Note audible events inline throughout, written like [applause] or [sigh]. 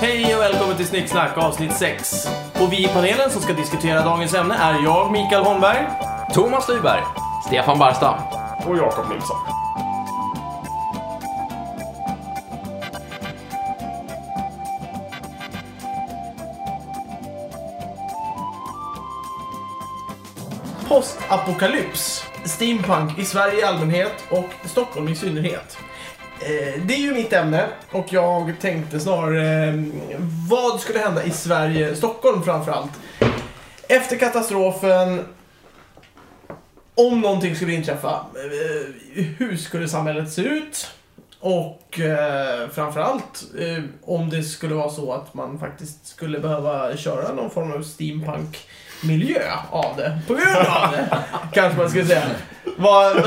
Hej och välkommen till Snicksnack avsnitt 6. Och vi i panelen som ska diskutera dagens ämne är jag, Mikael Holmberg. Thomas Lyberg, Stefan Barstam. och Jakob Nilsson. Postapokalyps, steampunk i Sverige i allmänhet och Stockholm i synnerhet. Eh, Det är ju mitt ämne och jag tänkte snarare eh, vad skulle hända i Sverige, Stockholm framförallt, efter katastrofen om någonting skulle inträffa. eh, Hur skulle samhället se ut? Och eh, framförallt eh, om det skulle vara så att man faktiskt skulle behöva köra någon form av steampunk miljö av det. På grund av det, kanske man skulle säga. Vad... ja, blir-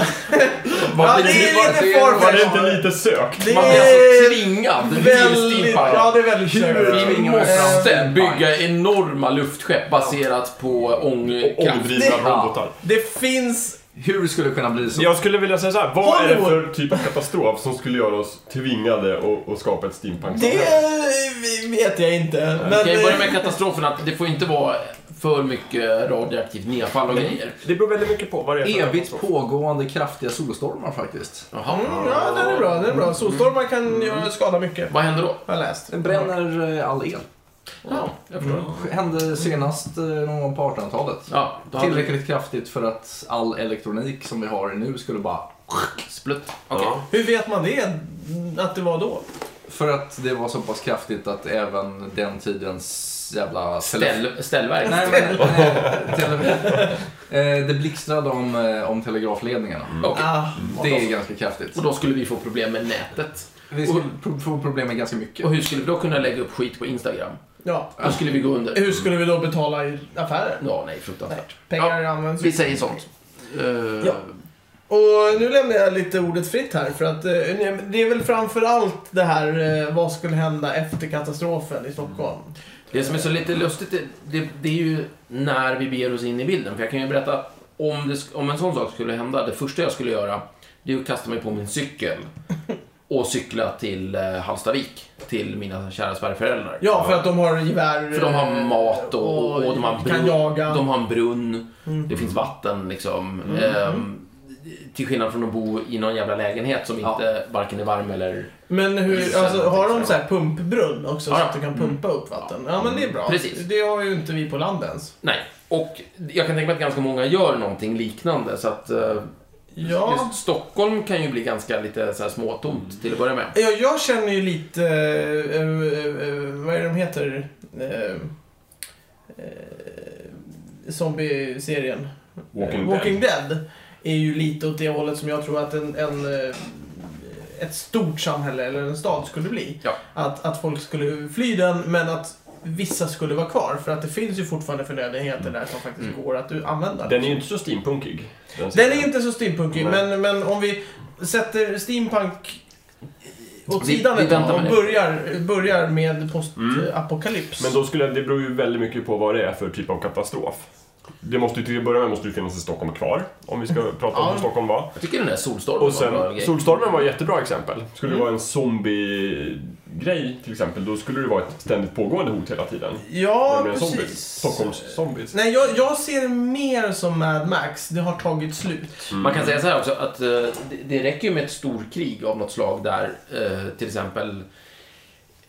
det vad- är det- lite farfetched. vad Var det inte lite sökt? Det Man blir alltså är tvingad till väldigt... Eh, steampunk. Ja, det är väldigt Vi sökt. måste bygga enorma luftskepp baserat på ångkraft. Ångdrivna Ja. robotar. Det finns... Hur skulle det kunna bli så? Jag skulle vilja säga så här. vad är det för Hollywood. typ av katastrof som skulle göra oss tvingade att, att skapa ett steampunk Det eh, vet jag inte. Men... Okej, börja med eh, katastrofen att det får inte vara för mycket radioaktivt nedfall och grejer. Det beror väldigt mycket på vad det är för Evigt pågående kraftiga solstormar faktiskt. Jaha. Mm, ja, den är bra. Den är bra. Solstormar kan göra skada mycket. Vad händer då? Har jag läst. Den bränner eh, all el. Ja, jag förstår. Hände senast eh, någon gång på 1800-talet. Mm. Ja, då hade vi Tillräckligt kraftigt för att all elektronik som vi har nu skulle bara... splutt. Okej. Ja. Hur vet man det? Att det var då? För att det var så pass kraftigt att även den tidens jävla... Ställ, ställverk. Nej, men... eh, tele- eh, det blixtrade om, eh, om telegrafledningarna. Okej. Ah, Det är ganska kraftigt. Mm. Och då skulle vi få problem med nätet. Vi skulle pro- få problem med ganska mycket. Och hur skulle vi då kunna lägga upp skit på Instagram? ja. Då skulle vi gå under. Hur skulle vi då betala i affärer? Ja, nej, Nej, fruktansvärt. pengar används Vi säger sånt. Eh, Ja. Och nu lämnar jag lite ordet fritt här för att eh, det är väl framför allt det här eh, vad skulle hända efter katastrofen i Stockholm. Det som är så lite lustigt, det, det, det är ju när vi beger oss in i bilden. För jag kan ju berätta, om, det, sk- om en sån sak skulle hända, det första jag skulle göra, det är att kasta mig på min cykel och cykla till eh, Hallstavik, till mina kära svärföräldrar. Ja, för att de har gevär. eh, För de har mat och, och, och de, har kan brunn, jaga. Mm. de har en brunn, det finns vatten liksom. Ehm, till skillnad från att bo i någon jävla lägenhet som Ja. inte varken är varm eller... Men hur, Isen, alltså, har de liksom. så här pumpbrunn också Ja, så ja. att du kan pumpa upp vatten? Ja, men det är bra. Precis. Det har ju inte vi på land ens. Nej. Och jag kan tänka mig att ganska många gör någonting liknande så att eh, Ja. Just Stockholm kan ju bli ganska lite så här Mm. småtomt till att börja med. Ja, jag känner ju lite, eh, eh, eh, vad är det de heter? Eh, eh, Zombie-serien. Walking Eh, Dead. Walking Dead är ju lite åt det hållet som jag tror att en, en, eh, ett stort samhälle eller en stad skulle bli. Ja. Att, att folk skulle fly den, men att vissa skulle vara kvar. För att det finns ju fortfarande förnödenheter där som faktiskt Mm. går att u- använda. Den är ju inte så steampunkig. Den är inte så steampunkig, Nej. men, men om vi sätter steampunk åt Vi- sidan vi ett tag väntar och med det. börjar, börjar med postapokalyps. Men då skulle, det beror ju väldigt mycket på vad det är för typ av katastrof. Det måste ju till att börja med måste ju finnas i Stockholm kvar, om vi ska prata om Ja. hur Stockholm var. Jag tycker den där solstormen Och var en bra sen, grej. Solstormen var ett jättebra exempel. Skulle det vara en zombie-grej till exempel, då skulle det vara ett ständigt pågående hot hela tiden. Ja, Nämligen precis. zombies. Stockholms zombies. Nej, jag, jag ser mer som Mad Max. Det har tagit slut. Man kan säga så här också att eh, det, det räcker ju med ett storkrig av något slag där eh, till exempel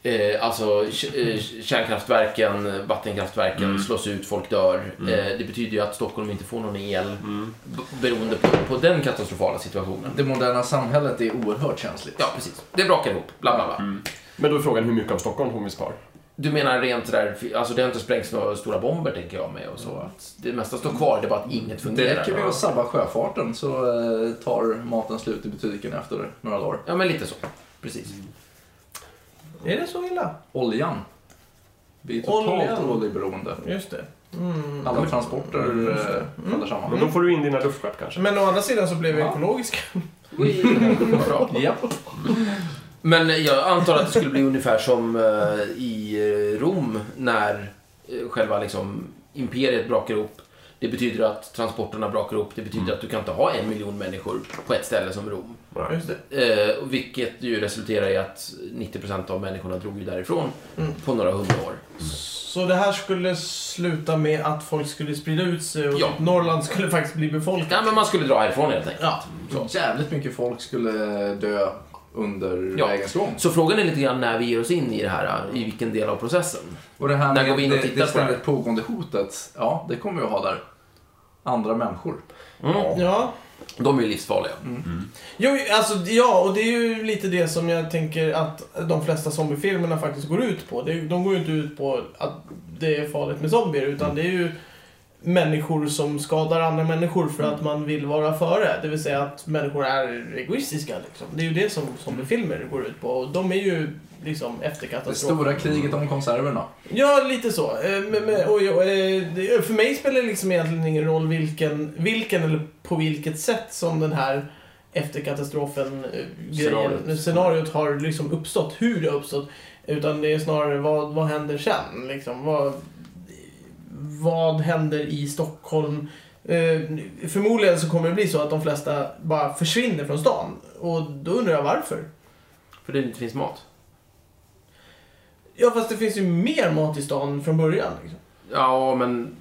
eh, alltså k- eh, kärnkraftverken, vattenkraftverken Mm. slås ut, folk dör. Eh, det betyder ju att Stockholm inte får någon el Mm. b- beroende på, på den katastrofala situationen. Det moderna samhället är oerhört känsligt. Ja, precis. Det brakar ihop, bla bla bla. Men då är frågan hur mycket av Stockholm som finns kvar? Du menar rent sådär, alltså det har inte sprängts några stora bomber tänker jag mig och så. Att det mesta står kvar, det är bara att inget Mm. Det fungerar. räcker med att sabba sjöfarten så eh, tar maten slut i butiken efter några dagar. Ja, men lite så. Precis. Mm. Är det så illa? Oljan. Vi är totalt Oljan. oljeberoende. Just det. Mm. Alla transporter eh, faller Men samman. då får du in dina luftskepp kanske. Men å andra sidan så blev vi Ja. ekologiska. Vad Bra. [laughs] Ja. Men jag antar att det skulle bli ungefär som eh, i eh, Rom när eh, själva liksom imperiet brakar ihop. Det betyder att transporterna brakar upp. Det betyder Mm. att du kan inte ha en miljon människor på ett ställe som Rom. Nej. Just det. Eh, och vilket ju resulterar i att 90% av människorna drog ju därifrån Mm. på några hundra år. Så det här skulle sluta med att folk skulle sprida ut sig och Ja. att Norrland skulle faktiskt bli befolkat? Ja, men man skulle dra härifrån helt enkelt. Ja. Så. Jävligt mycket folk skulle dö under Ja. vägens gång. Så frågan är lite grann när vi ger oss in i det här, i vilken del av processen. Och det här Där med går vi in och det, tittar det på det här. ständigt pågående hotet, ja, det kommer vi att ha där. Andra människor. Mm. Ja. Ja. De är ju livsfarliga. Mm. Jo, alltså, ja, och det är ju lite det som jag tänker att de flesta zombiefilmerna faktiskt går ut på. Det, är ju- de går ju inte ut på att det är farligt med zombier, utan det är ju människor som skadar andra människor för att man vill vara före. Det vill säga att människor är egoistiska. Liksom. Det är ju det som zombiefilmer går ut på. Och de är ju liksom efter Det katastrofen. stora kriget om konserverna. Ja, lite så. Eh, Men, men, och, jag- eh, det- för mig spelar det liksom egentligen ingen roll vilken, vilken eller på vilket sätt som den här efter katastrofen eh, grejen, Scenariot. scenariot har liksom uppstått. Hur det har uppstått. Utan det är snarare vad, vad händer sen? Liksom, vad, vad händer i Stockholm? Eh, förmodligen så kommer det bli så att de flesta bara försvinner från stan. Och då undrar jag varför. För det inte finns mat. Ja, fast det finns ju mer mat i stan från början. Liksom. Ja, men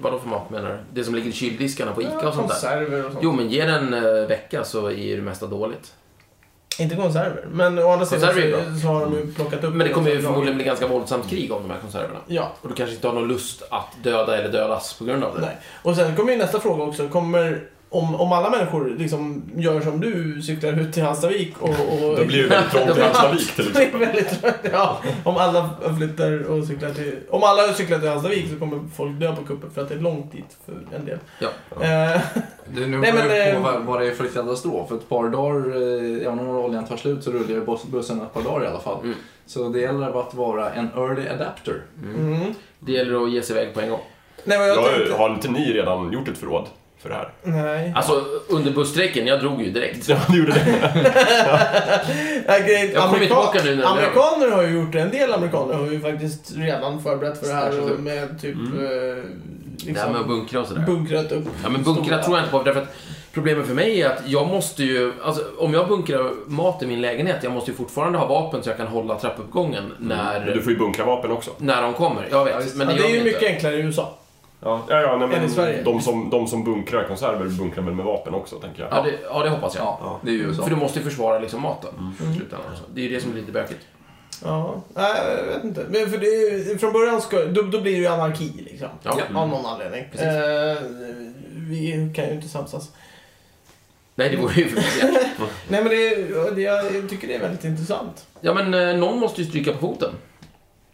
vadå för mat menar du? Det som ligger i kyldiskarna på ICA Ja, och sånt där? konserver och sånt. Jo, men ge den en vecka så är ju det mesta dåligt. Inte konserver, men å andra sidan Konserver är så, så har de ju plockat upp Men det kommer ju som- förmodligen bli ganska våldsamt krig om de här konserverna. Ja, Och du kanske inte har någon lust att döda eller dödas på grund av det. nej. Och sen kommer ju nästa fråga också. Kommer, om, om alla människor liksom gör som du, cyklar ut till Hallstavik och... och Det blir ju väldigt [laughs] trångt i Hallstavik [laughs] till Det är exempel. väldigt trött, ja. Om alla flyttar och cyklar till... Om alla cyklar till Hallstavik så kommer folk dö på kuppen för att det är långt dit för en del. Ja. Eh, Det, nu Nej, beror men, det eh, på vad, vad det är för katastrof. Ett par dagar, eh, även om oljan tar slut så rullar ju buss- bussen ett par dagar i alla fall. Mm. Så det gäller att vara en early adapter. mm. Det gäller att ge sig iväg på en gång. Nej, men jag Jag tänkte... har inte ni redan gjort ett förråd för det här? [laughs] Nej. Alltså, under busstrecken, jag drog ju direkt. Ja, ni gjorde det. Ja, [laughs] grej- Jag kommer tillbaka nu när det Amerikaner har ju gjort det. En del amerikaner har ju faktiskt redan förberett för det här och med typ... Eh, Mm. Det här med att liksom, bunkra och sådär. bunkrat upp. Ja, men bunkra stora- tror jag inte på. Därför att problemet för mig är att jag måste ju, alltså, om jag bunkrar mat i min lägenhet, jag måste ju fortfarande ha vapen så jag kan hålla trappuppgången Mm. när, Men du får ju bunkra vapen också. när de kommer. Jag vet, Ja, just det. men Ja, det, det är gör ju de mycket inte. enklare i USA. Ja, ja, ja nej, Än i Sverige. men de som, de som bunkrar konserver bunkrar väl med vapen också, tänker jag. Ja det, ja, det hoppas jag. Ja, det är ju så. För du måste ju försvara liksom maten Mm. i slutändan. Också. Det är ju det som är lite bökigt. Ja, nej, jag vet inte. Men för det, är ju- från början ska, då, då blir det ju anarki liksom. Ja. Av någon anledning. Precis. Eh, vi kan ju inte samsas. Nej, det vore ju för Nej men det, det, jag tycker det är väldigt intressant. Ja, men eh, någon måste ju stryka på foten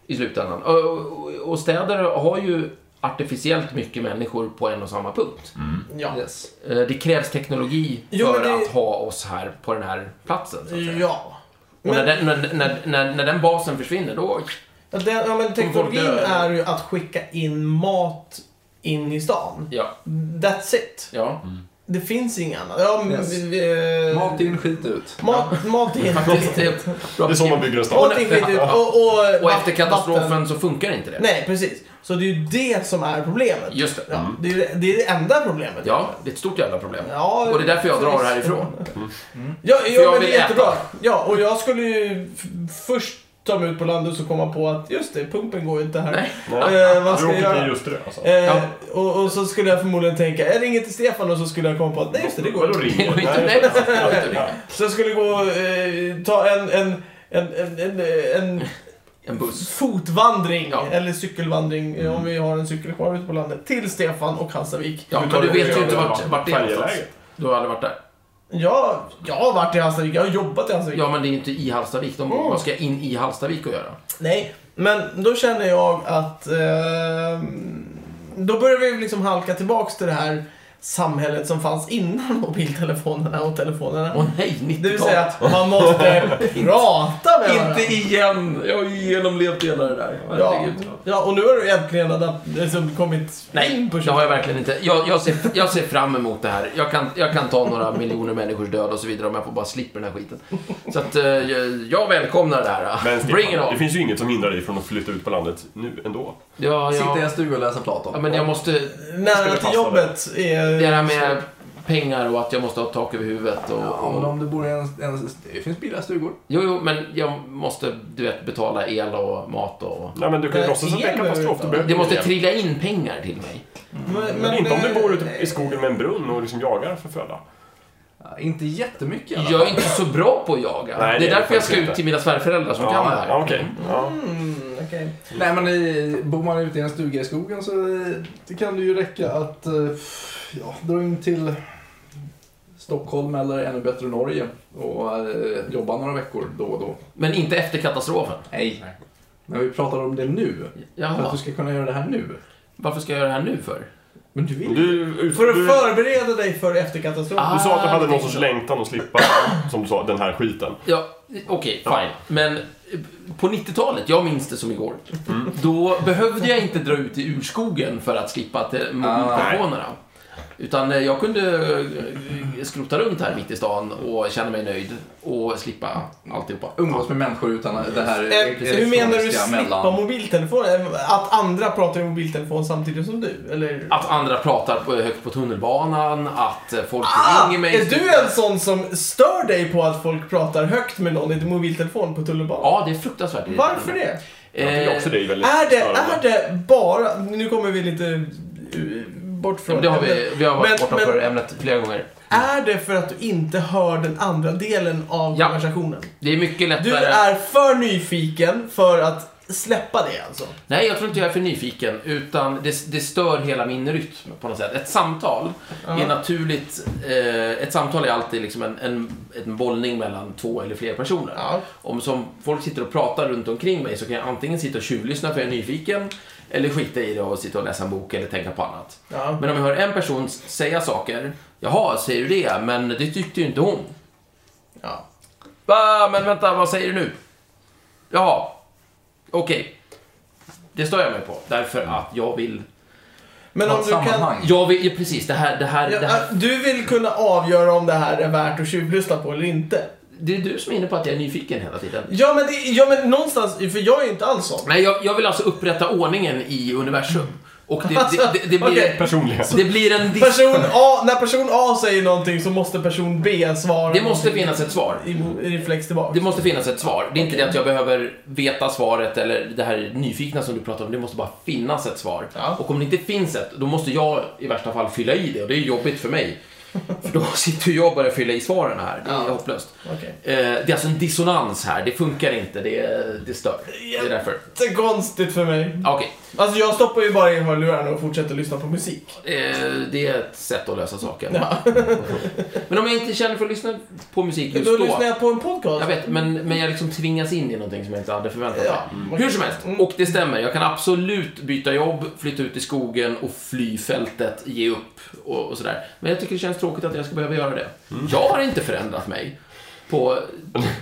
i slutändan. Och, och, och städer har ju artificiellt mycket människor på en och samma punkt. Mm. Ja. Yes. Eh, Det krävs teknologi Jo, för men det- att ha oss här på den här platsen. Så att säga. Ja. Och när den, när, när, när, när den basen försvinner, då... Ja, det, ja men teknologin dör. är ju att skicka in mat in i stan. Ja. That's it. ja. Det finns inget annat. Ja, men Yes. vi- vi- Mat in, skit ut. Mat, [laughs] mat in. Faktiskt, det är bra Det är så man beskrivning. bygger en stad. Mat in skit ut. Och, och, Och efter vatten. katastrofen så funkar inte det. Nej, precis. Så det är ju det som är problemet. Just det. Ja, det, är, ju- det är det enda problemet. Ja, det är ett stort jävla problem. Ja, Och det är därför jag drar precis. härifrån. Ja, För ja jag men vill det är äta. jättebra. Ja, och jag skulle ju f- först ta mig ut på landet och komma på att just det, pumpen går ju inte här. Nej. [laughs] Eh, vad Du ska jag åker till göra? just det. Alltså. Eh, Ja. och, och så skulle jag förmodligen tänka, jag ringer till Stefan och så skulle jag komma på att nej just det, det går Vadå inte. Det ringer? går inte- Nej, Nej, precis, det går inte att ringa. Så jag skulle gå eh, ta en, en, en, en, en, en En buss. fotvandring, Ja. Mm. eller cykelvandring, eh, om vi har en cykel kvar ute på landet, till Stefan och Hallstavik. Ja, Du men tar du det vet ju över inte vart, vart det är någonstans. Färjeläget. Du har aldrig varit där. Ja, jag har varit i Hallstavik, jag har jobbat i Hallstavik. Ja, men det är ju inte i Hallstavik. De, Mm. Vad ska jag in i Hallstavik och göra? Nej, men då känner jag att... Eh, då börjar vi liksom halka tillbaks till det här samhället som fanns innan [laughs] mobiltelefonerna och telefonerna. Åh nej, 90 Det vill säga att man [laughs] måste prata med varandra. Inte igen! Jag har ju genomlevt hela det där. Ja. Herregud. ja, och nu har du äntligen adap- liksom kommit Nej, in på det har jag verkligen inte. Jag, jag, ser, jag ser fram emot det här. Jag kan, jag kan ta några miljoner människors död och så vidare om jag får bara slipper den här skiten. Så att eh, jag- jag välkomnar det här. Bring Men it Stefan, det on! finns ju inget som hindrar dig från att flytta ut på landet nu ändå. Ja, Sitta i ja. en stuga och läsa Platon. ja, men jag måste... Nära skulle till passa jobbet är... Mm, Det här med pengar och att jag måste ha tak över huvudet och... Ja, men och om du bor i en... en det finns billiga stugor. jo, jo, men jag måste, du vet, betala el och mat och... Nej men du kan ju Nej, låtsas att det är el en katastrof. Du behöver Det måste inte trilla in pengar till mig. Men, Men inte om du bor ute i eh, skogen med en brunn och liksom jagar för föda. Ja, inte jättemycket i alla Jag är inte så bra på att jaga. Nej, det är det därför är jag faktiskt ska ut inte. till mina svärföräldrar som kan det Ja, här. ja, okej. Ja. Mm, okej. Nej men i, bor man ute i en stuga i skogen så eh, det kan det ju räcka att eh, ja, dra in till Stockholm eller ännu bättre Norge och eh, jobba några veckor då och då. Men inte efter katastrofen. Nej. Men vi pratar om det nu. För att Jaha, du ska kunna göra det här nu. varför ska jag göra det här nu för? Men du vill ju. Du, För att du, förbereda dig för efterkatastrofen. Ah. du sa att du hade någon det- sorts längtan att slippa, som du sa, den här skiten. Ja, okej, Ja. fine. Men eh, på 90-talet, jag minns det som igår, då behövde jag inte dra ut i urskogen för att eh, slippa te- mobiltelefonerna. Utan eh, jag kunde eh, skrota runt här mitt i stan och känna mig nöjd och slippa alltihopa. Umgås med människor utan det här Eh, hur menar du elektroniska slippa mobiltelefonen? Eh, Att andra pratar i mobiltelefon samtidigt som du? Eller? Att andra pratar på, högt på tunnelbanan, att eh, folk Ah, ringer mig. är du en sån som stör dig på att folk pratar högt med någon i mobiltelefon på tunnelbanan? Ja, det är fruktansvärt Varför det? Jag tycker Eh, också det är väldigt Är det, störande. är det bara... Nu kommer vi lite eh, bort Ja, från men Det har ämnet. vi, vi har varit Men- bortanför men- ämnet flera gånger. Är det för att du inte hör den andra delen av Ja. konversationen? Det är mycket lättare. Du är för nyfiken för att släppa det alltså. Nej, jag tror inte jag är för nyfiken, utan det, det stör hela min rytm på något sätt. Ett samtal är naturligt, eh, ett samtal är alltid liksom en, en, en bollning mellan två eller fler personer. Ja. Om som folk sitter och pratar runt omkring mig så kan jag antingen sitta och tjuvlyssna för jag är nyfiken, eller skita i det och sitta och läsa en bok eller tänka på annat. Ja. Men om jag hör en person s- säga saker, jaha, säger du det, men det tyckte ju inte hon. Ja. Va, men vänta, vad säger du nu? Jaha, okej. Det stör jag mig på, därför att jag vill... Men om Något du kan... sammanhang. Jag vill, ja, precis, det här, det här, Ja, det här. äh, du vill kunna avgöra om det här är värt att tjuvlyssna på eller inte. Det är du som är inne på att jag är nyfiken hela tiden. Ja men, det, ja, men någonstans, för jag är ju inte alls sån. Nej, jag, jag vill alltså upprätta ordningen i universum. Och det, det, det, det, blir, Okej. Personligen. det blir en... Dis- Person A, när person A säger någonting så måste person B svara. det måste finnas ett svar. i i reflex tillbaka. Det måste finnas ett svar. Det är inte det att jag behöver veta svaret eller det här nyfikna som du pratar om. Det måste bara finnas ett svar. Ja. Och om det inte finns ett, då måste jag i värsta fall fylla i det. Och det är jobbigt [laughs] för mig. För då sitter ju jag och börjar fylla i svaren här. Det är Ja. hopplöst. Okej. Eh, det är alltså en dissonans här. Det funkar inte. Det, är- det stör. Det är därför. Jättekonstigt för mig. Ja, Okej, Alltså jag stoppar ju bara i hörlurarna och fortsätter lyssna på musik. Eh, det är ett sätt att lösa saken. Ja. [laughs] Men om jag inte känner för att lyssna på musik just Då då. lyssnar jag på en podcast. Jag vet, men, men jag liksom tvingas in i någonting som jag inte hade förväntat mig. Ja. Hur som helst, och det stämmer. Jag kan absolut byta jobb, flytta ut i skogen och fly fältet, ge upp och, och sådär. Men jag tycker det känns tråkigt att jag ska behöva göra det. Jag har inte förändrat mig på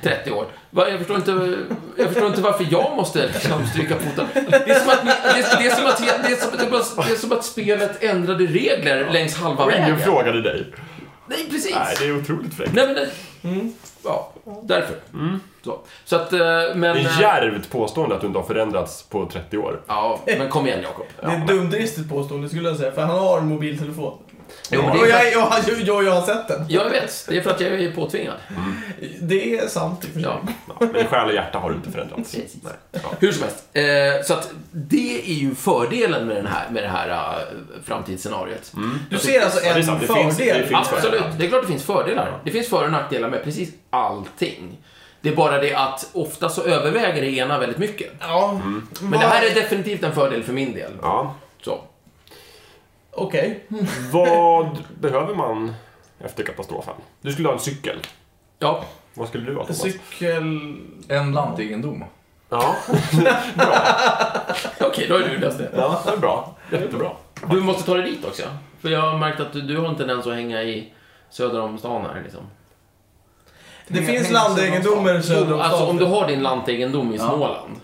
30 år. Va, Jag förstår inte, jag förstår inte varför jag måste liksom stryka foten. Det är som att, det är, det är som att, det är som, det är bara- det är som att spelet ändrade regler längs halva Och [laughs] ingen vägen. frågade dig. Nej, precis. Nej, det är otroligt fräckt. Nej men det, Mm. Ja, därför. Så. så att, eh, men... Det är eh, djärvt påstående att du inte har förändrats på 30 år. Ja, men kom igen Jakob. Det är ett dumdristigt påstående skulle jag säga, för han har en mobiltelefon. Jo, men Och det är för jag, att, jag, jag, jag, jag har sett den. jag vet, det är för att jag är påtvingad. Det är sant i och för sig. Ja, Ja, men själ och hjärta har du inte förändrats. precis. Nej. Hur som helst, eh, så att det är ju fördelen med, den här, med det här eh, framtidsscenariot. Du ser alltså Ja, det är en sant. Det fördel. finns- Mm. det finns- Absolut, fördelar. det är klart det finns fördelar. Det finns för och nackdelar med precis allting. Det är bara det att ofta så överväger det ena väldigt mycket. Ja. Mm. Men det här Mm. är definitivt en fördel för min del. Ja. Så. Okej. Vad behöver man efter katastrofen? Du skulle ha en cykel. Ja, [laughs] Vad skulle du ha Thomas? Cykel... En lantegendom. Eh, Ja, bra. okej, då har du löst det. Ja, det är bra. Jättebra. Du måste ta dig dit också. För jag har märkt att du, du har en tendens att hänga i söder om stan här liksom. Det Hänga- finns hänga landegendomer söder om Alltså stan. om du har din lantegendom i Ja. Småland.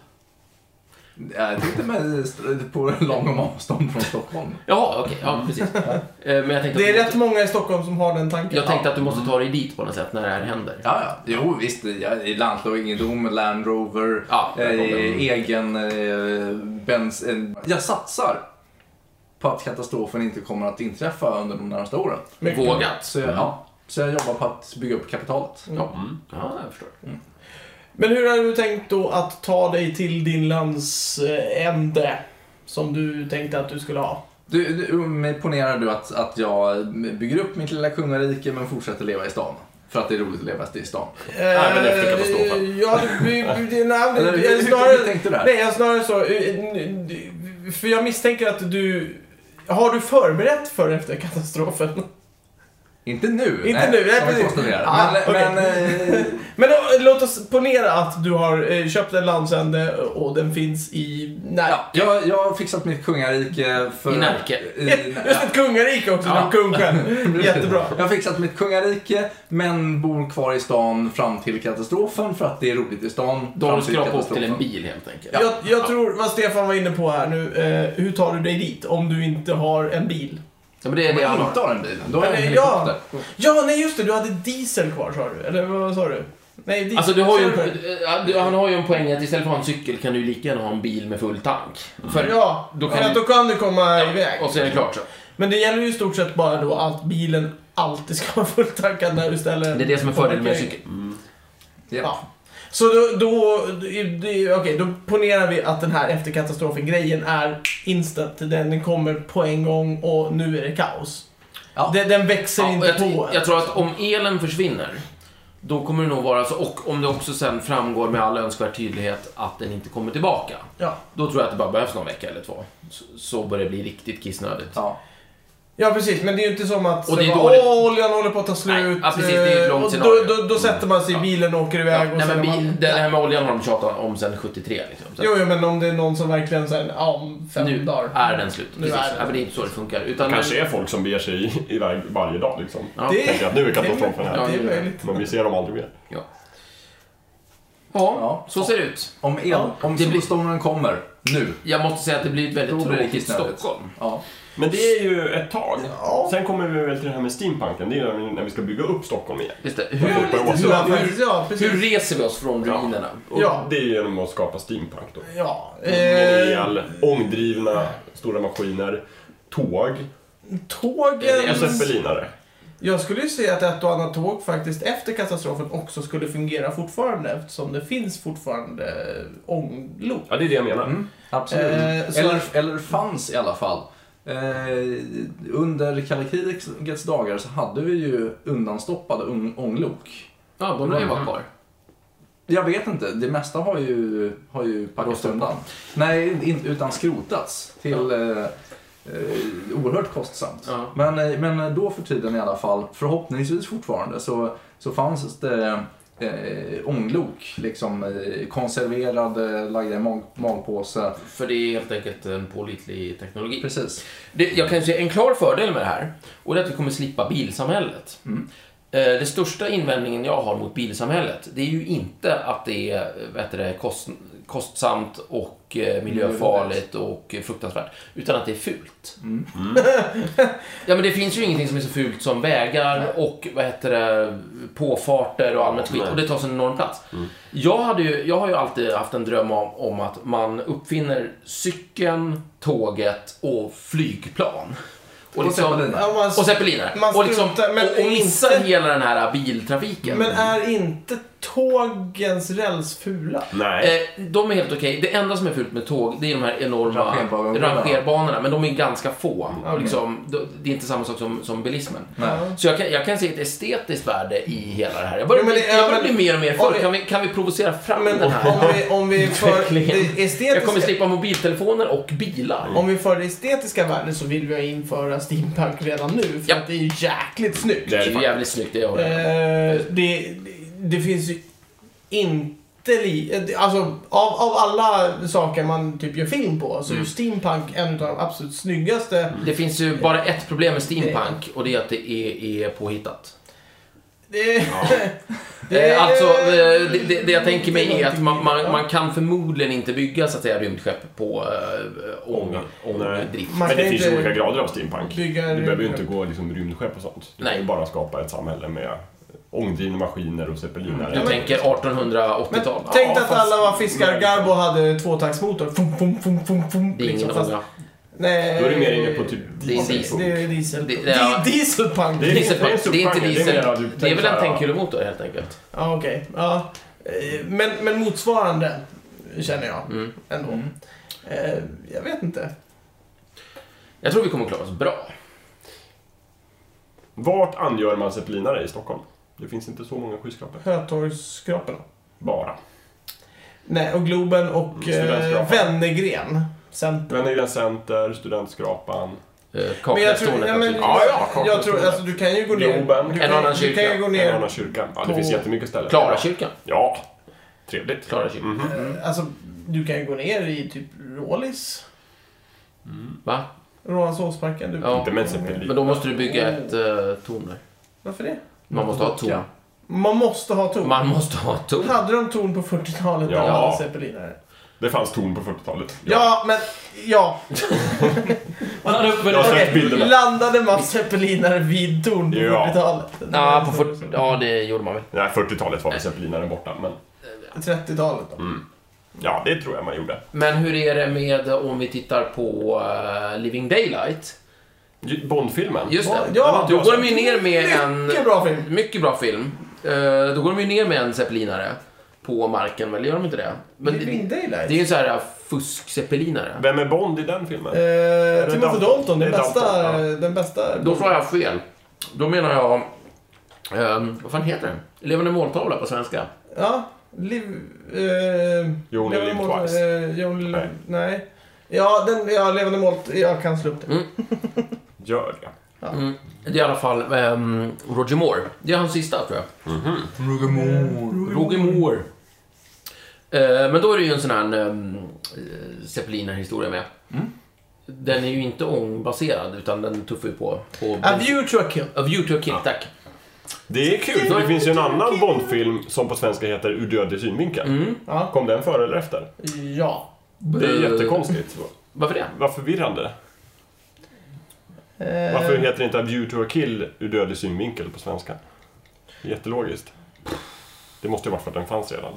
Ja, Jag tänkte med st- på långom avstånd från Stockholm. Ja, okej. Ja, [laughs] precis. Eh, Men jag Mm. tänkte, Det är att du rätt Mm. många i Stockholm som har den tanken. jag tänkte att du måste ta dig dit på något sätt när det här händer. Ja, ja. Jo, visst. Ja, landslågendom, Land Rover, Ja, där kom eh, den. egen eh, bens... Eh, jag satsar på att katastrofen inte kommer att inträffa under de närmaste åren. Men- Vågat. Så jag, ja, så jag jobbar på att bygga upp kapitalet. Mm. Ja, jag förstår. Men hur har du tänkt då att ta dig till din lands eh, ände? Som du tänkte att du skulle ha. Du, du, men ponerar du att, att jag bygger upp mitt lilla kungarike men fortsätter leva i stan? För att det är roligt att leva i stan. Även efter Eh, katastrofen. Ja, det- vi- vi- nej, men- Eller, hur, hur, snarare... hur tänkte du där? Nej, jag snarare så. eh, n- n- För jag misstänker att du... Har du förberett för efter katastrofen? [laughs] Inte nu. Inte nu, nej, som vi precis. konstaterar. Ah, men, okej. men, [laughs] eh, Men då, låt oss ponera att du har eh, köpt en landsände och den finns i... Nej. ja, jag, jag har fixat mitt kungarike för... I Närke. [laughs] I- Just ett kungarike också, Ja. ja. kung [laughs] själv. Jättebra. Jag har fixat mitt kungarike men bor kvar i stan fram till katastrofen för att det är roligt i stan. Då har fram du skrapat upp till katastrofen. en bil helt enkelt. Jag, jag tror, vad Stefan var inne på här nu, eh, hur tar du dig dit om du inte har en bil? Ja, men det är Om det jag jag har. inte har den bilen, då har jag en Eller, ja. helikopter. Ja, nej just det, du hade diesel kvar sa du, eller vad sa du? Nej, diesel. Alltså du har ju, sa det? eh, du- han har ju en poäng att istället för att ha en cykel kan du ju lika gärna ha en bil med full tank. Mm. För, Ja, då då kan kan, du- då kan du komma iväg. Och så är det klart så. Men det gäller ju i stort sett bara då att bilen alltid ska [laughs] vara fulltankad när du ställer Det är det som är fördelen med en cykel. Ja. Så då, då, det- okej, då ponerar vi att den här efter katastrofen-grejen är instant. Den den kommer på en gång och nu är det kaos. Ja. Den, den växer Ja, och inte på. jag, jag tror att om elen försvinner, då kommer det nog vara så. Och om det också sen framgår med all önskvärd tydlighet att den inte kommer tillbaka. Ja. Då tror jag att det bara behövs någon vecka eller två. Så, så börjar det bli riktigt kissnödigt. Ja. ja, precis. Men det är ju inte som att Och det är så dåligt. bara, Åh, oljan håller på att ta slut. Nej, ja, precis, det är ett långt och då, scenario. då, då sätter man sig i Ja. bilen och åker Ja, iväg. och nej, men sen är bil, man, det här med oljan har de tjatat om sedan 73 liksom. Så att Jo, jo, men om det är någon som verkligen säger ja, om fem nu dagar. är den slut. Nu Precis. är den Ja, men det är inte så det funkar. Utan kanske är folk som beger sig i- iväg varje dag liksom. Ja. Det- Tänker att nu är katastrofen Ja, här. det är möjligt. Men vi ser dem aldrig mer. Ja, Ja. så ser det ut. Om, el, Ja. om Det blir- solstormen kommer, nu. Jag måste säga att det blir ett Då väldigt blir det tråkigt kissnödigt. Stockholm. Ja. Men det är ju ett tag. Ja. Sen kommer vi väl till det här med steampunken. Det är ju när vi ska bygga upp Stockholm igen. Just det. Ja, Hur, lite så, Hur- faktiskt. Ja, precis. hur reser vi oss från Ja. ruinerna? Och Ja. det är ju genom att skapa steampunk då. Ja. Med Eh, el, ångdrivna stora maskiner, tåg tågen... och zeppelinare. Jag skulle ju säga att ett och annat tåg faktiskt efter katastrofen också skulle fungera fortfarande eftersom det finns fortfarande eh, ånglok. Ja, det är det jag menar. Mm, absolut. Eh, så- eller, eller fanns i alla fall. Eh, under kalla krigets dagar så hade vi ju undanstoppade un- ånglok. Ja, de lär ju vara kvar. Jag vet inte, det mesta har ju, har ju packats Rostat undan. Nej, inte, utan skrotats till Ja. eh, eh, oerhört kostsamt. Ja. Men, eh, men då för tiden i alla fall, förhoppningsvis fortfarande, så, så fanns det eh, ånglok. Liksom, eh, konserverade, lagda i mag- magpåse. För det är helt enkelt en pålitlig teknologi. Precis. Det, jag kan ju se en klar fördel med det här, och det är att vi kommer slippa bilsamhället. Mm. Eh, Det största invändningen jag har mot bilsamhället, det är ju inte att det är vet du, det, kost, kostsamt och eh, miljöfarligt och fruktansvärt, utan att det är fult. Mm. ja, men det finns ju ingenting som är så fult som vägar och vad heter det, påfarter och allmänt skit, Nej. och det tar så enorm plats. Mm. Jag, hade ju, jag har ju alltid haft en dröm om, om att man uppfinner cykeln, tåget och flygplan. Och, liksom- zeppeliner. Ja, man- och zeppeliner. Man och, liksom, struntar- men och, och missar inte- hela den här biltrafiken. Men är inte tågens räls fula? Nej. Eh, de är helt okej. Det enda som är fult med tåg, det är de här enorma Rangerbanorna. rangerbanorna. Men de är ganska få. Och Okej. liksom, det- det är inte samma sak som, som bilismen. Nej. Så jag kan, jag kan se ett estetiskt värde i hela det här. Jag börjar, Jo, men det- bli, jag ja, börjar men- bli mer och mer om för. vi- Kan vi, kan vi provocera fram Men den här? om vi, om [laughs] vi för det Jag kommer estetiska, slippa mobiltelefoner och bilar. om vi för det estetiska värdet så vill vi ju införa steampunk redan nu för Ja. att det är ju jäkligt snyggt. Det Det är är det ju jävligt snyggt, det gör jag. Eh, det, det finns ju inte ytterligare... Alltså, av, av alla saker man typ gör film på så är Mm. ju steampunk en av de absolut snyggaste. Det finns ju bara ett problem med steampunk och det är att det är, är påhittat. Det, [laughs] Eh, Alltså, eh, det, det, det jag tänker mig är att man, man, man kan förmodligen inte bygga så att säga rymdskepp på eh, ång, Ånga. Nej. ångdrift. Man Men ska det finns ju inte olika grader av steampunk. Du bygga en behöver ju rymdskepp. inte gå liksom rymdskepp och sånt. Du Nej. kan ju bara skapa ett samhälle med ångdrivna maskiner och zeppelinare. Du tänker 1880-tal? Men tänk Ja, att fast- alla var fiskar Garbo hade tvåtaktsmotor. Fum, fum, fum, fum, fum, Det är ingen liksom, fast- ånga. Nej. Då är du mer inne på typ Det är diesel. Det är diesel. Det- Det, det- är dieselpunk. Det är Diesel- det är Det är inte supertanker, det är mer att diesel. du Det är väl tänker en så här, tänkhylomotor helt enkelt. Ja, okej. Ja. Eh, Men, men motsvarande känner jag Mm. ändå. Eh, Jag vet inte. Jag tror vi kommer klara oss bra. Eh, Vart angör man zeppelinare i Stockholm? Det finns inte så många skyskrapor. Hötorgsskraporna. Bara. Nej, och Globen och Mm, eh, studentskrapan. Wennergren. Sen. Brännergrens center, Studentskrapan. Eh, Men jag tror, Kaknästornet ja, men, naturligtvis. Ja, ja, klart. jag tror, alltså du kan ju gå ner. Globen. Du En kan, annan du kan kyrka. ju gå En ner. annan kyrka. Ja, det På- finns jättemycket ställen. Klara kyrkan. Ja, trevligt. Klara kyrkan. Mhm. Alltså, du kan ju gå ner i typ Rålis. Va? Rålandshovsparken. Du- Ja. Inte med en zeppelin. Men då måste du bygga Mm. ett eh, torn där. Varför det? Man måste ha ett torn. Man måste ha torn. Man måste ha ett torn. Hade de torn på 40-talet när Ja. alla hade zeppelinare? Det fanns torn på 40-talet. Ja. men... Ja. Man hade Jag har uppe sett bilderna. Landade Mats zeppelinare vid torn på Ja. 40-talet? Ja, på fyrt- ja, det gjorde man väl. Nej, 40-talet var väl zeppelinaren borta, men 30-talet Mm. då. ja, det tror jag man gjorde. Men hur är det med om vi tittar på eh, Living Daylight? Ju- Bondfilmen? Just det. Ja, Mm, Då går de ju ner med en... Mycket bra film. Mycket bra film. Eh, Då går de ju ner med en zeppelinare på marken, eller gör de inte det? Men det, Living Daylight. det är ju så här eh, fusk-zeppelinare. Vem är Bond i den filmen? Eh, Timothy Dalton? Dalton, den Det är bästa... Dalton, Den bästa... Då sa jag fel. Då menar jag... ehm, vad fan heter den? Levande måltavla på svenska. Ja. Liv... Eh, You only Levande live mål- twice. Eh, you only- Nej. Nej. Ja, den... Ja, Levande mål... Jag kan slå upp det. Gör det. Mm. Det är i alla fall ehm, Roger Moore. Det är hans sista, tror jag. Roger Moore. Roger Moore. Eh, Men då är det ju en sån här um, Zeppeliner-historia med. Den är ju inte ångbaserad, utan den tuffar ju på... på A View to a Kill. A view to a kill, tack. Det är kul, för det finns ju en annan Bondfilm som på svenska heter Ur dödlig synvinkel. Mm. Ja. Kom den före eller efter? Ja. Det är Eh, jättekonstigt. Varför det? Vad förvirrande. Eh, Varför heter det inte A View to a Kill Ur dödlig synvinkel på svenska? Jättelogiskt. Det måste ju vara för att den fanns redan.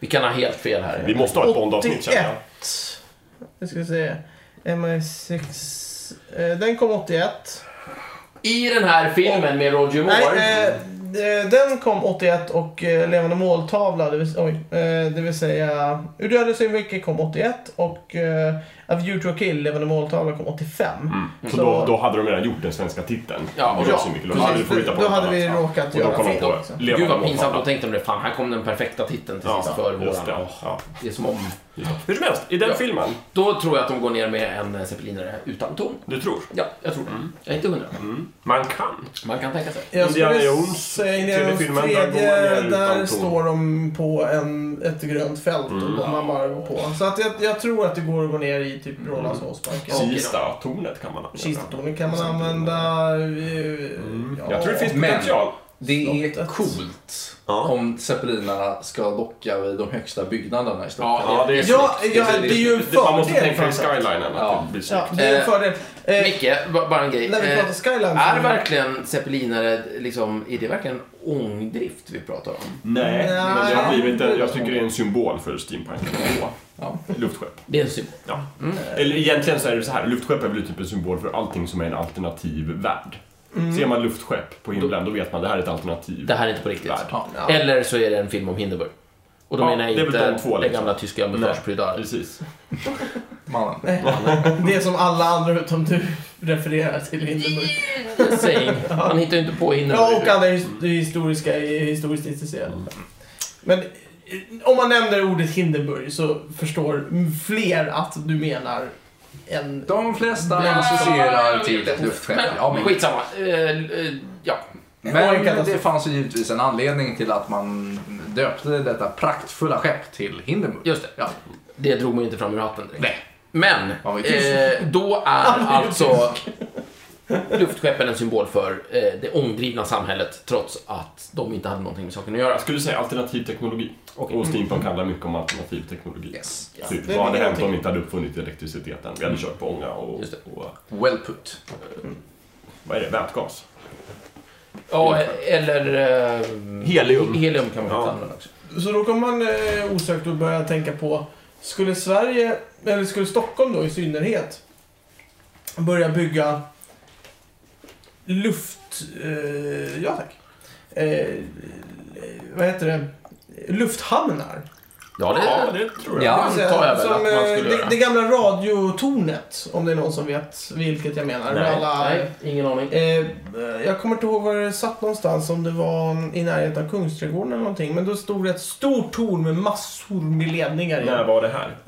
Vi kan ha helt fel här. Vi måste ha ett Bond-avsnitt känner jag. 81. Eh, Nu ska vi se. MI6. Eh, Den kom 81. I den här filmen med Roger Moore. Nej, eh, eh, den kom 81 och eh, Levande måltavla, det vill, oj, eh, det vill säga Ur dödens synvinkel kom 81 och eh, A View to a Kill, Levande måltavla, kom 85. Mm. Så då, då hade de redan gjort den svenska titeln. Ja, och Ur dödlig ja, synvinkel. Och Precis, då hade vi fått hitta på då något hade vi annat. råkat Och då göra kom de fel på också. Gud Levande vad pinsamt, då måltavla. tänkte de det. Fan, här kom den perfekta titeln till sist för Just det. våran. Åh, Ja. Det är som om... Hur som helst, i den Ja. filmen, Då tror jag att de går ner med en eh, zeppelinare utan ton. du tror? Ja, jag tror det. Mm. Jag är inte hundra. Man kan. Man kan tänka sig. Jag skulle Indiana Jones, säga Indiana Jones tredje filmen, tredje, där går man där, ner utan ton. Mm. står de på en, ett grönt fält och man bara går på. Så att jag, jag tror att det går att gå ner i typ Rålambshovsparken. Mm. Kista-tornet kan man använda. Kistatornet kan man använda. eh, Ja. Mm. Jag tror det finns Men- potential. Det är Slottet. coolt Ja. om zeppelinarna ska docka vid de högsta byggnaderna i Stockholm. Ja, det är Ja, ja, Det- det- det är ju en Det- Man måste fördel. tänka i framför allt. skylinen att Ja. det blir snyggt. Ja, det är en Eh, fördel. Eh, Micke, ba- bara en grej. när vi Eh, pratar Skyline Är verkligen zeppelinare, liksom, är det verkligen ångdrift vi pratar om? Nej, men det har Nej. blivit en, jag tycker det är en symbol för steampunk ändå. Ja. Luftskepp. Det är en symbol. Ja. Eller egentligen så är det så här, luftskepp är väl typ en symbol för allting som är en alternativ värld. Ser man luftskepp på himlen, då vet man att det här är ett alternativ. Det här är inte på riktigt. värld. Ja. Eller så är det en film om Hindenburg. Och då Ja, menar jag det är inte väl de två, den liksom. gamla tyska [laughs] mustaschpryddaren. Precis. Mannen. [laughs] Det är som alla andra utom du refererar till Hindenburg. Säg, man hittar ju inte på Ja, och Hindenburg. andra his- historiska, historiskt intresserade. Men eh, om man nämner ordet Hindenburg så förstår fler att du menar en... De flesta associerar till ett luftskepp. Ja, men, Skitsamma. Eh, eh, ja. men katastrof. det fanns ju givetvis en anledning till att man döpte detta praktfulla skepp till Hindenburg. Just det. Ja. Det drog man ju inte fram ur hatten direkt. Nej. Men, Ja, vi eh, då är alltså luftskeppen en symbol för eh, det omdrivna samhället trots att de inte hade någonting med saken att göra. Jag skulle säga alternativ teknologi. Och steampunk handlar mycket om alternativ teknologi. Yes. Typ, Det är vad hade mycket hänt om vi inte hade uppfunnit elektriciteten? Vi hade kört på ånga och, Just och Well put. vad är det, vätgas. Ja, eh, eller... Eh, Helium. Helium kan man Ja. faktiskt använda också. Så då kommer man eh, osökt att börja tänka på, skulle Sverige, eller skulle Stockholm då i synnerhet, börja bygga luft... Eh, ja tack. Eh, vad heter det? Lufthamnar. Ja, det, Ja, det tror jag. Ja. Det vill antar jag väl som, att man eh, skulle det, göra. det gamla radiotornet, om det är någon som vet vilket jag menar. Nej, Med alla, Nej, ingen aning. Eh, jag kommer inte ihåg var det satt någonstans, om det var i närheten av Kungsträdgården eller någonting. Men då stod det ett stort torn med massor med ledningar i. När var det här?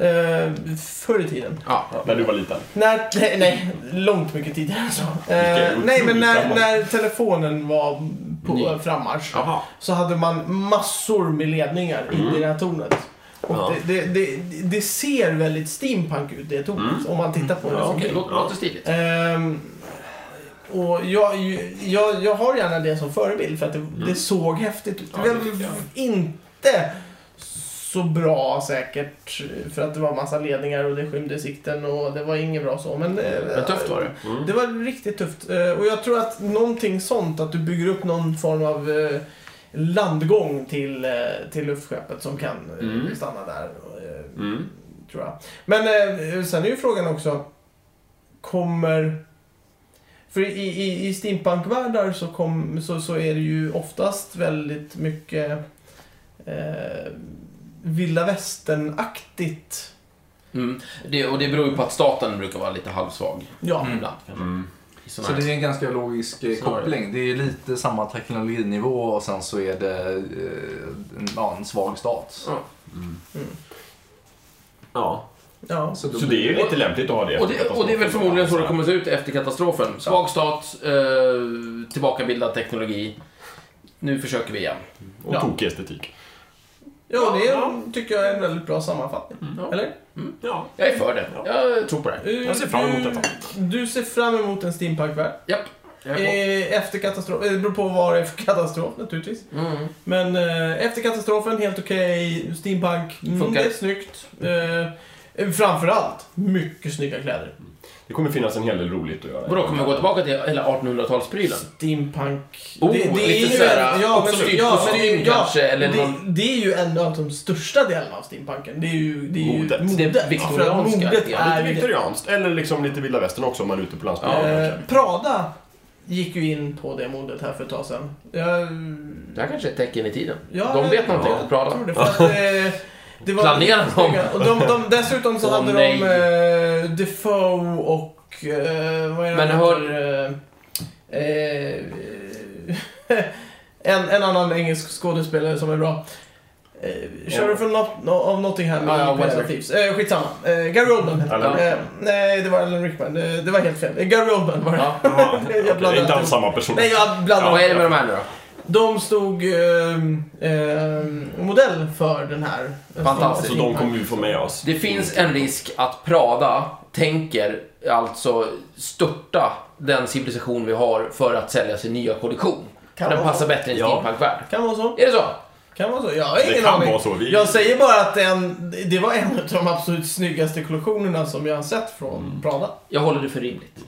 Eh, förr i tiden. Ja. När du var liten? När, nej, nej, långt mycket tidigare än så. Eh, Vilken nej, men otrolig när, framgång. när telefonen var på Ny. frammarsch Jaha. så hade man massor med ledningar in i det här tornet. Och Mm. Ja. det, det, det, det ser väldigt steampunk ut, det tornet, om man tittar på det. Mm. Ja, som okej, bild. låt- låter stiligt. Ehm, och jag, jag, jag har gärna det som förebild för att det, det såg häftigt ut. Mm. Ja, det det var tycker jag. inte så bra säkert för att det var massa ledningar och det skymde sikten och det var inget bra så. Men, eh, Men tufft var det. det var riktigt tufft. Eh, Och jag tror att någonting sånt, att du bygger upp någon form av eh, landgång till, eh, till luftskeppet som kan eh, Mm. stanna där. eh, Tror jag. Men eh, sen är ju frågan också, kommer... För i, i, i steampunkvärldar så, kom, så, så är det ju oftast väldigt mycket eh, vilda västern-aktigt. Mm. Det, och det beror ju på att staten brukar vara lite halvsvag Ja. ibland. Kanske. I såna Så här- det är en ganska logisk Så eh, är det. koppling. Det är ju lite samma teknologinivå och sen så är det eh, en, ja, en svag stat. Ja. Ja. Ja. då Så det blir- är ju lite lämpligt att ha det. Mm. Och det, och det är väl förmodligen så det kommer att se ut efter katastrofen. Svag stat, eh, tillbakabildad teknologi. Nu försöker vi igen. Och tokig estetik. ja, det är, Ja. tycker jag är en väldigt bra sammanfattning. Eller? Ja. Jag är för det. Jag tror på det. Jag ser fram emot du, detta. Du ser fram emot en steampunkvärld. Japp. Jag är på. Eh, efter katastrof, eh, det beror på vad det är för katastrof naturligtvis. Mm. Men eh, efter katastrofen, helt okej. Steampunk, mm, Funkar. det är snyggt. Eh, eh, framförallt, mycket snygga kläder. Det kommer finnas en hel del roligt att göra. Vadå, kommer vi gå tillbaka till hela 1800-talsprylen? Steampunk. Oh, lite ju såhär, en- ja, men, uppstyrt ja, men, kostym ja, kanske, eller det, någon- det är ju en av de största delarna av steampunken. Det är ju, det är ju Modet. modet. Det för att viktorianska, modet ja, är Lite viktorianskt, eller liksom lite vilda västern också om man är ute på landsbygden. Eh, kanske. Prada gick ju in på det modet här för ett tag sedan. Jag, Det här kanske är ett tecken i tiden. Ja, De vet någonting jag att prata tror om. det, för att, eh, det var Planerar de? Och de, de, dessutom så Åh, hade nej. de eh, Defoe och... Eh, vad är det Men han hör- heter? Eh, eh, [laughs] en, en annan engelsk skådespelare som är bra. Eh, Sheriff of Not, no, of Nottingham Ja, ja, i Prince whatever. of Thieves. Eh, skitsamma. Eh, Gary Oldman heter Alan han. eh, Nej, det var Alan Rickman. Eh, det var helt fel. Eh, Gary Oldman var det. [laughs] Ja. Ja, Jag okej, blandar inte alls ihop. samma person. Nej, jag blandade Vad är det med de här nu då? de stod ehm, ehm, modell för den här. Fantastiskt. Så Alltså, de kommer vi få med oss. Det finns en risk att Prada tänker alltså störta den civilisation vi har för att sälja sin nya kollektion. Kan den vara passar så. bättre i en Ja. steampunkvärld. Kan vara så. Är det så? Kan vara så. Jag har ingen Det kan aning. vara så. Vi... Jag säger bara att den, det var en av de absolut snyggaste kollektionerna som jag har sett från Prada. Jag håller det för rimligt.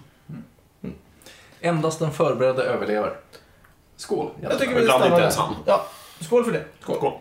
Endast den förberedda överlever. Skål! Jag tycker vi Ibland stannar inte där. ens han. Ja, skål för det. Skål.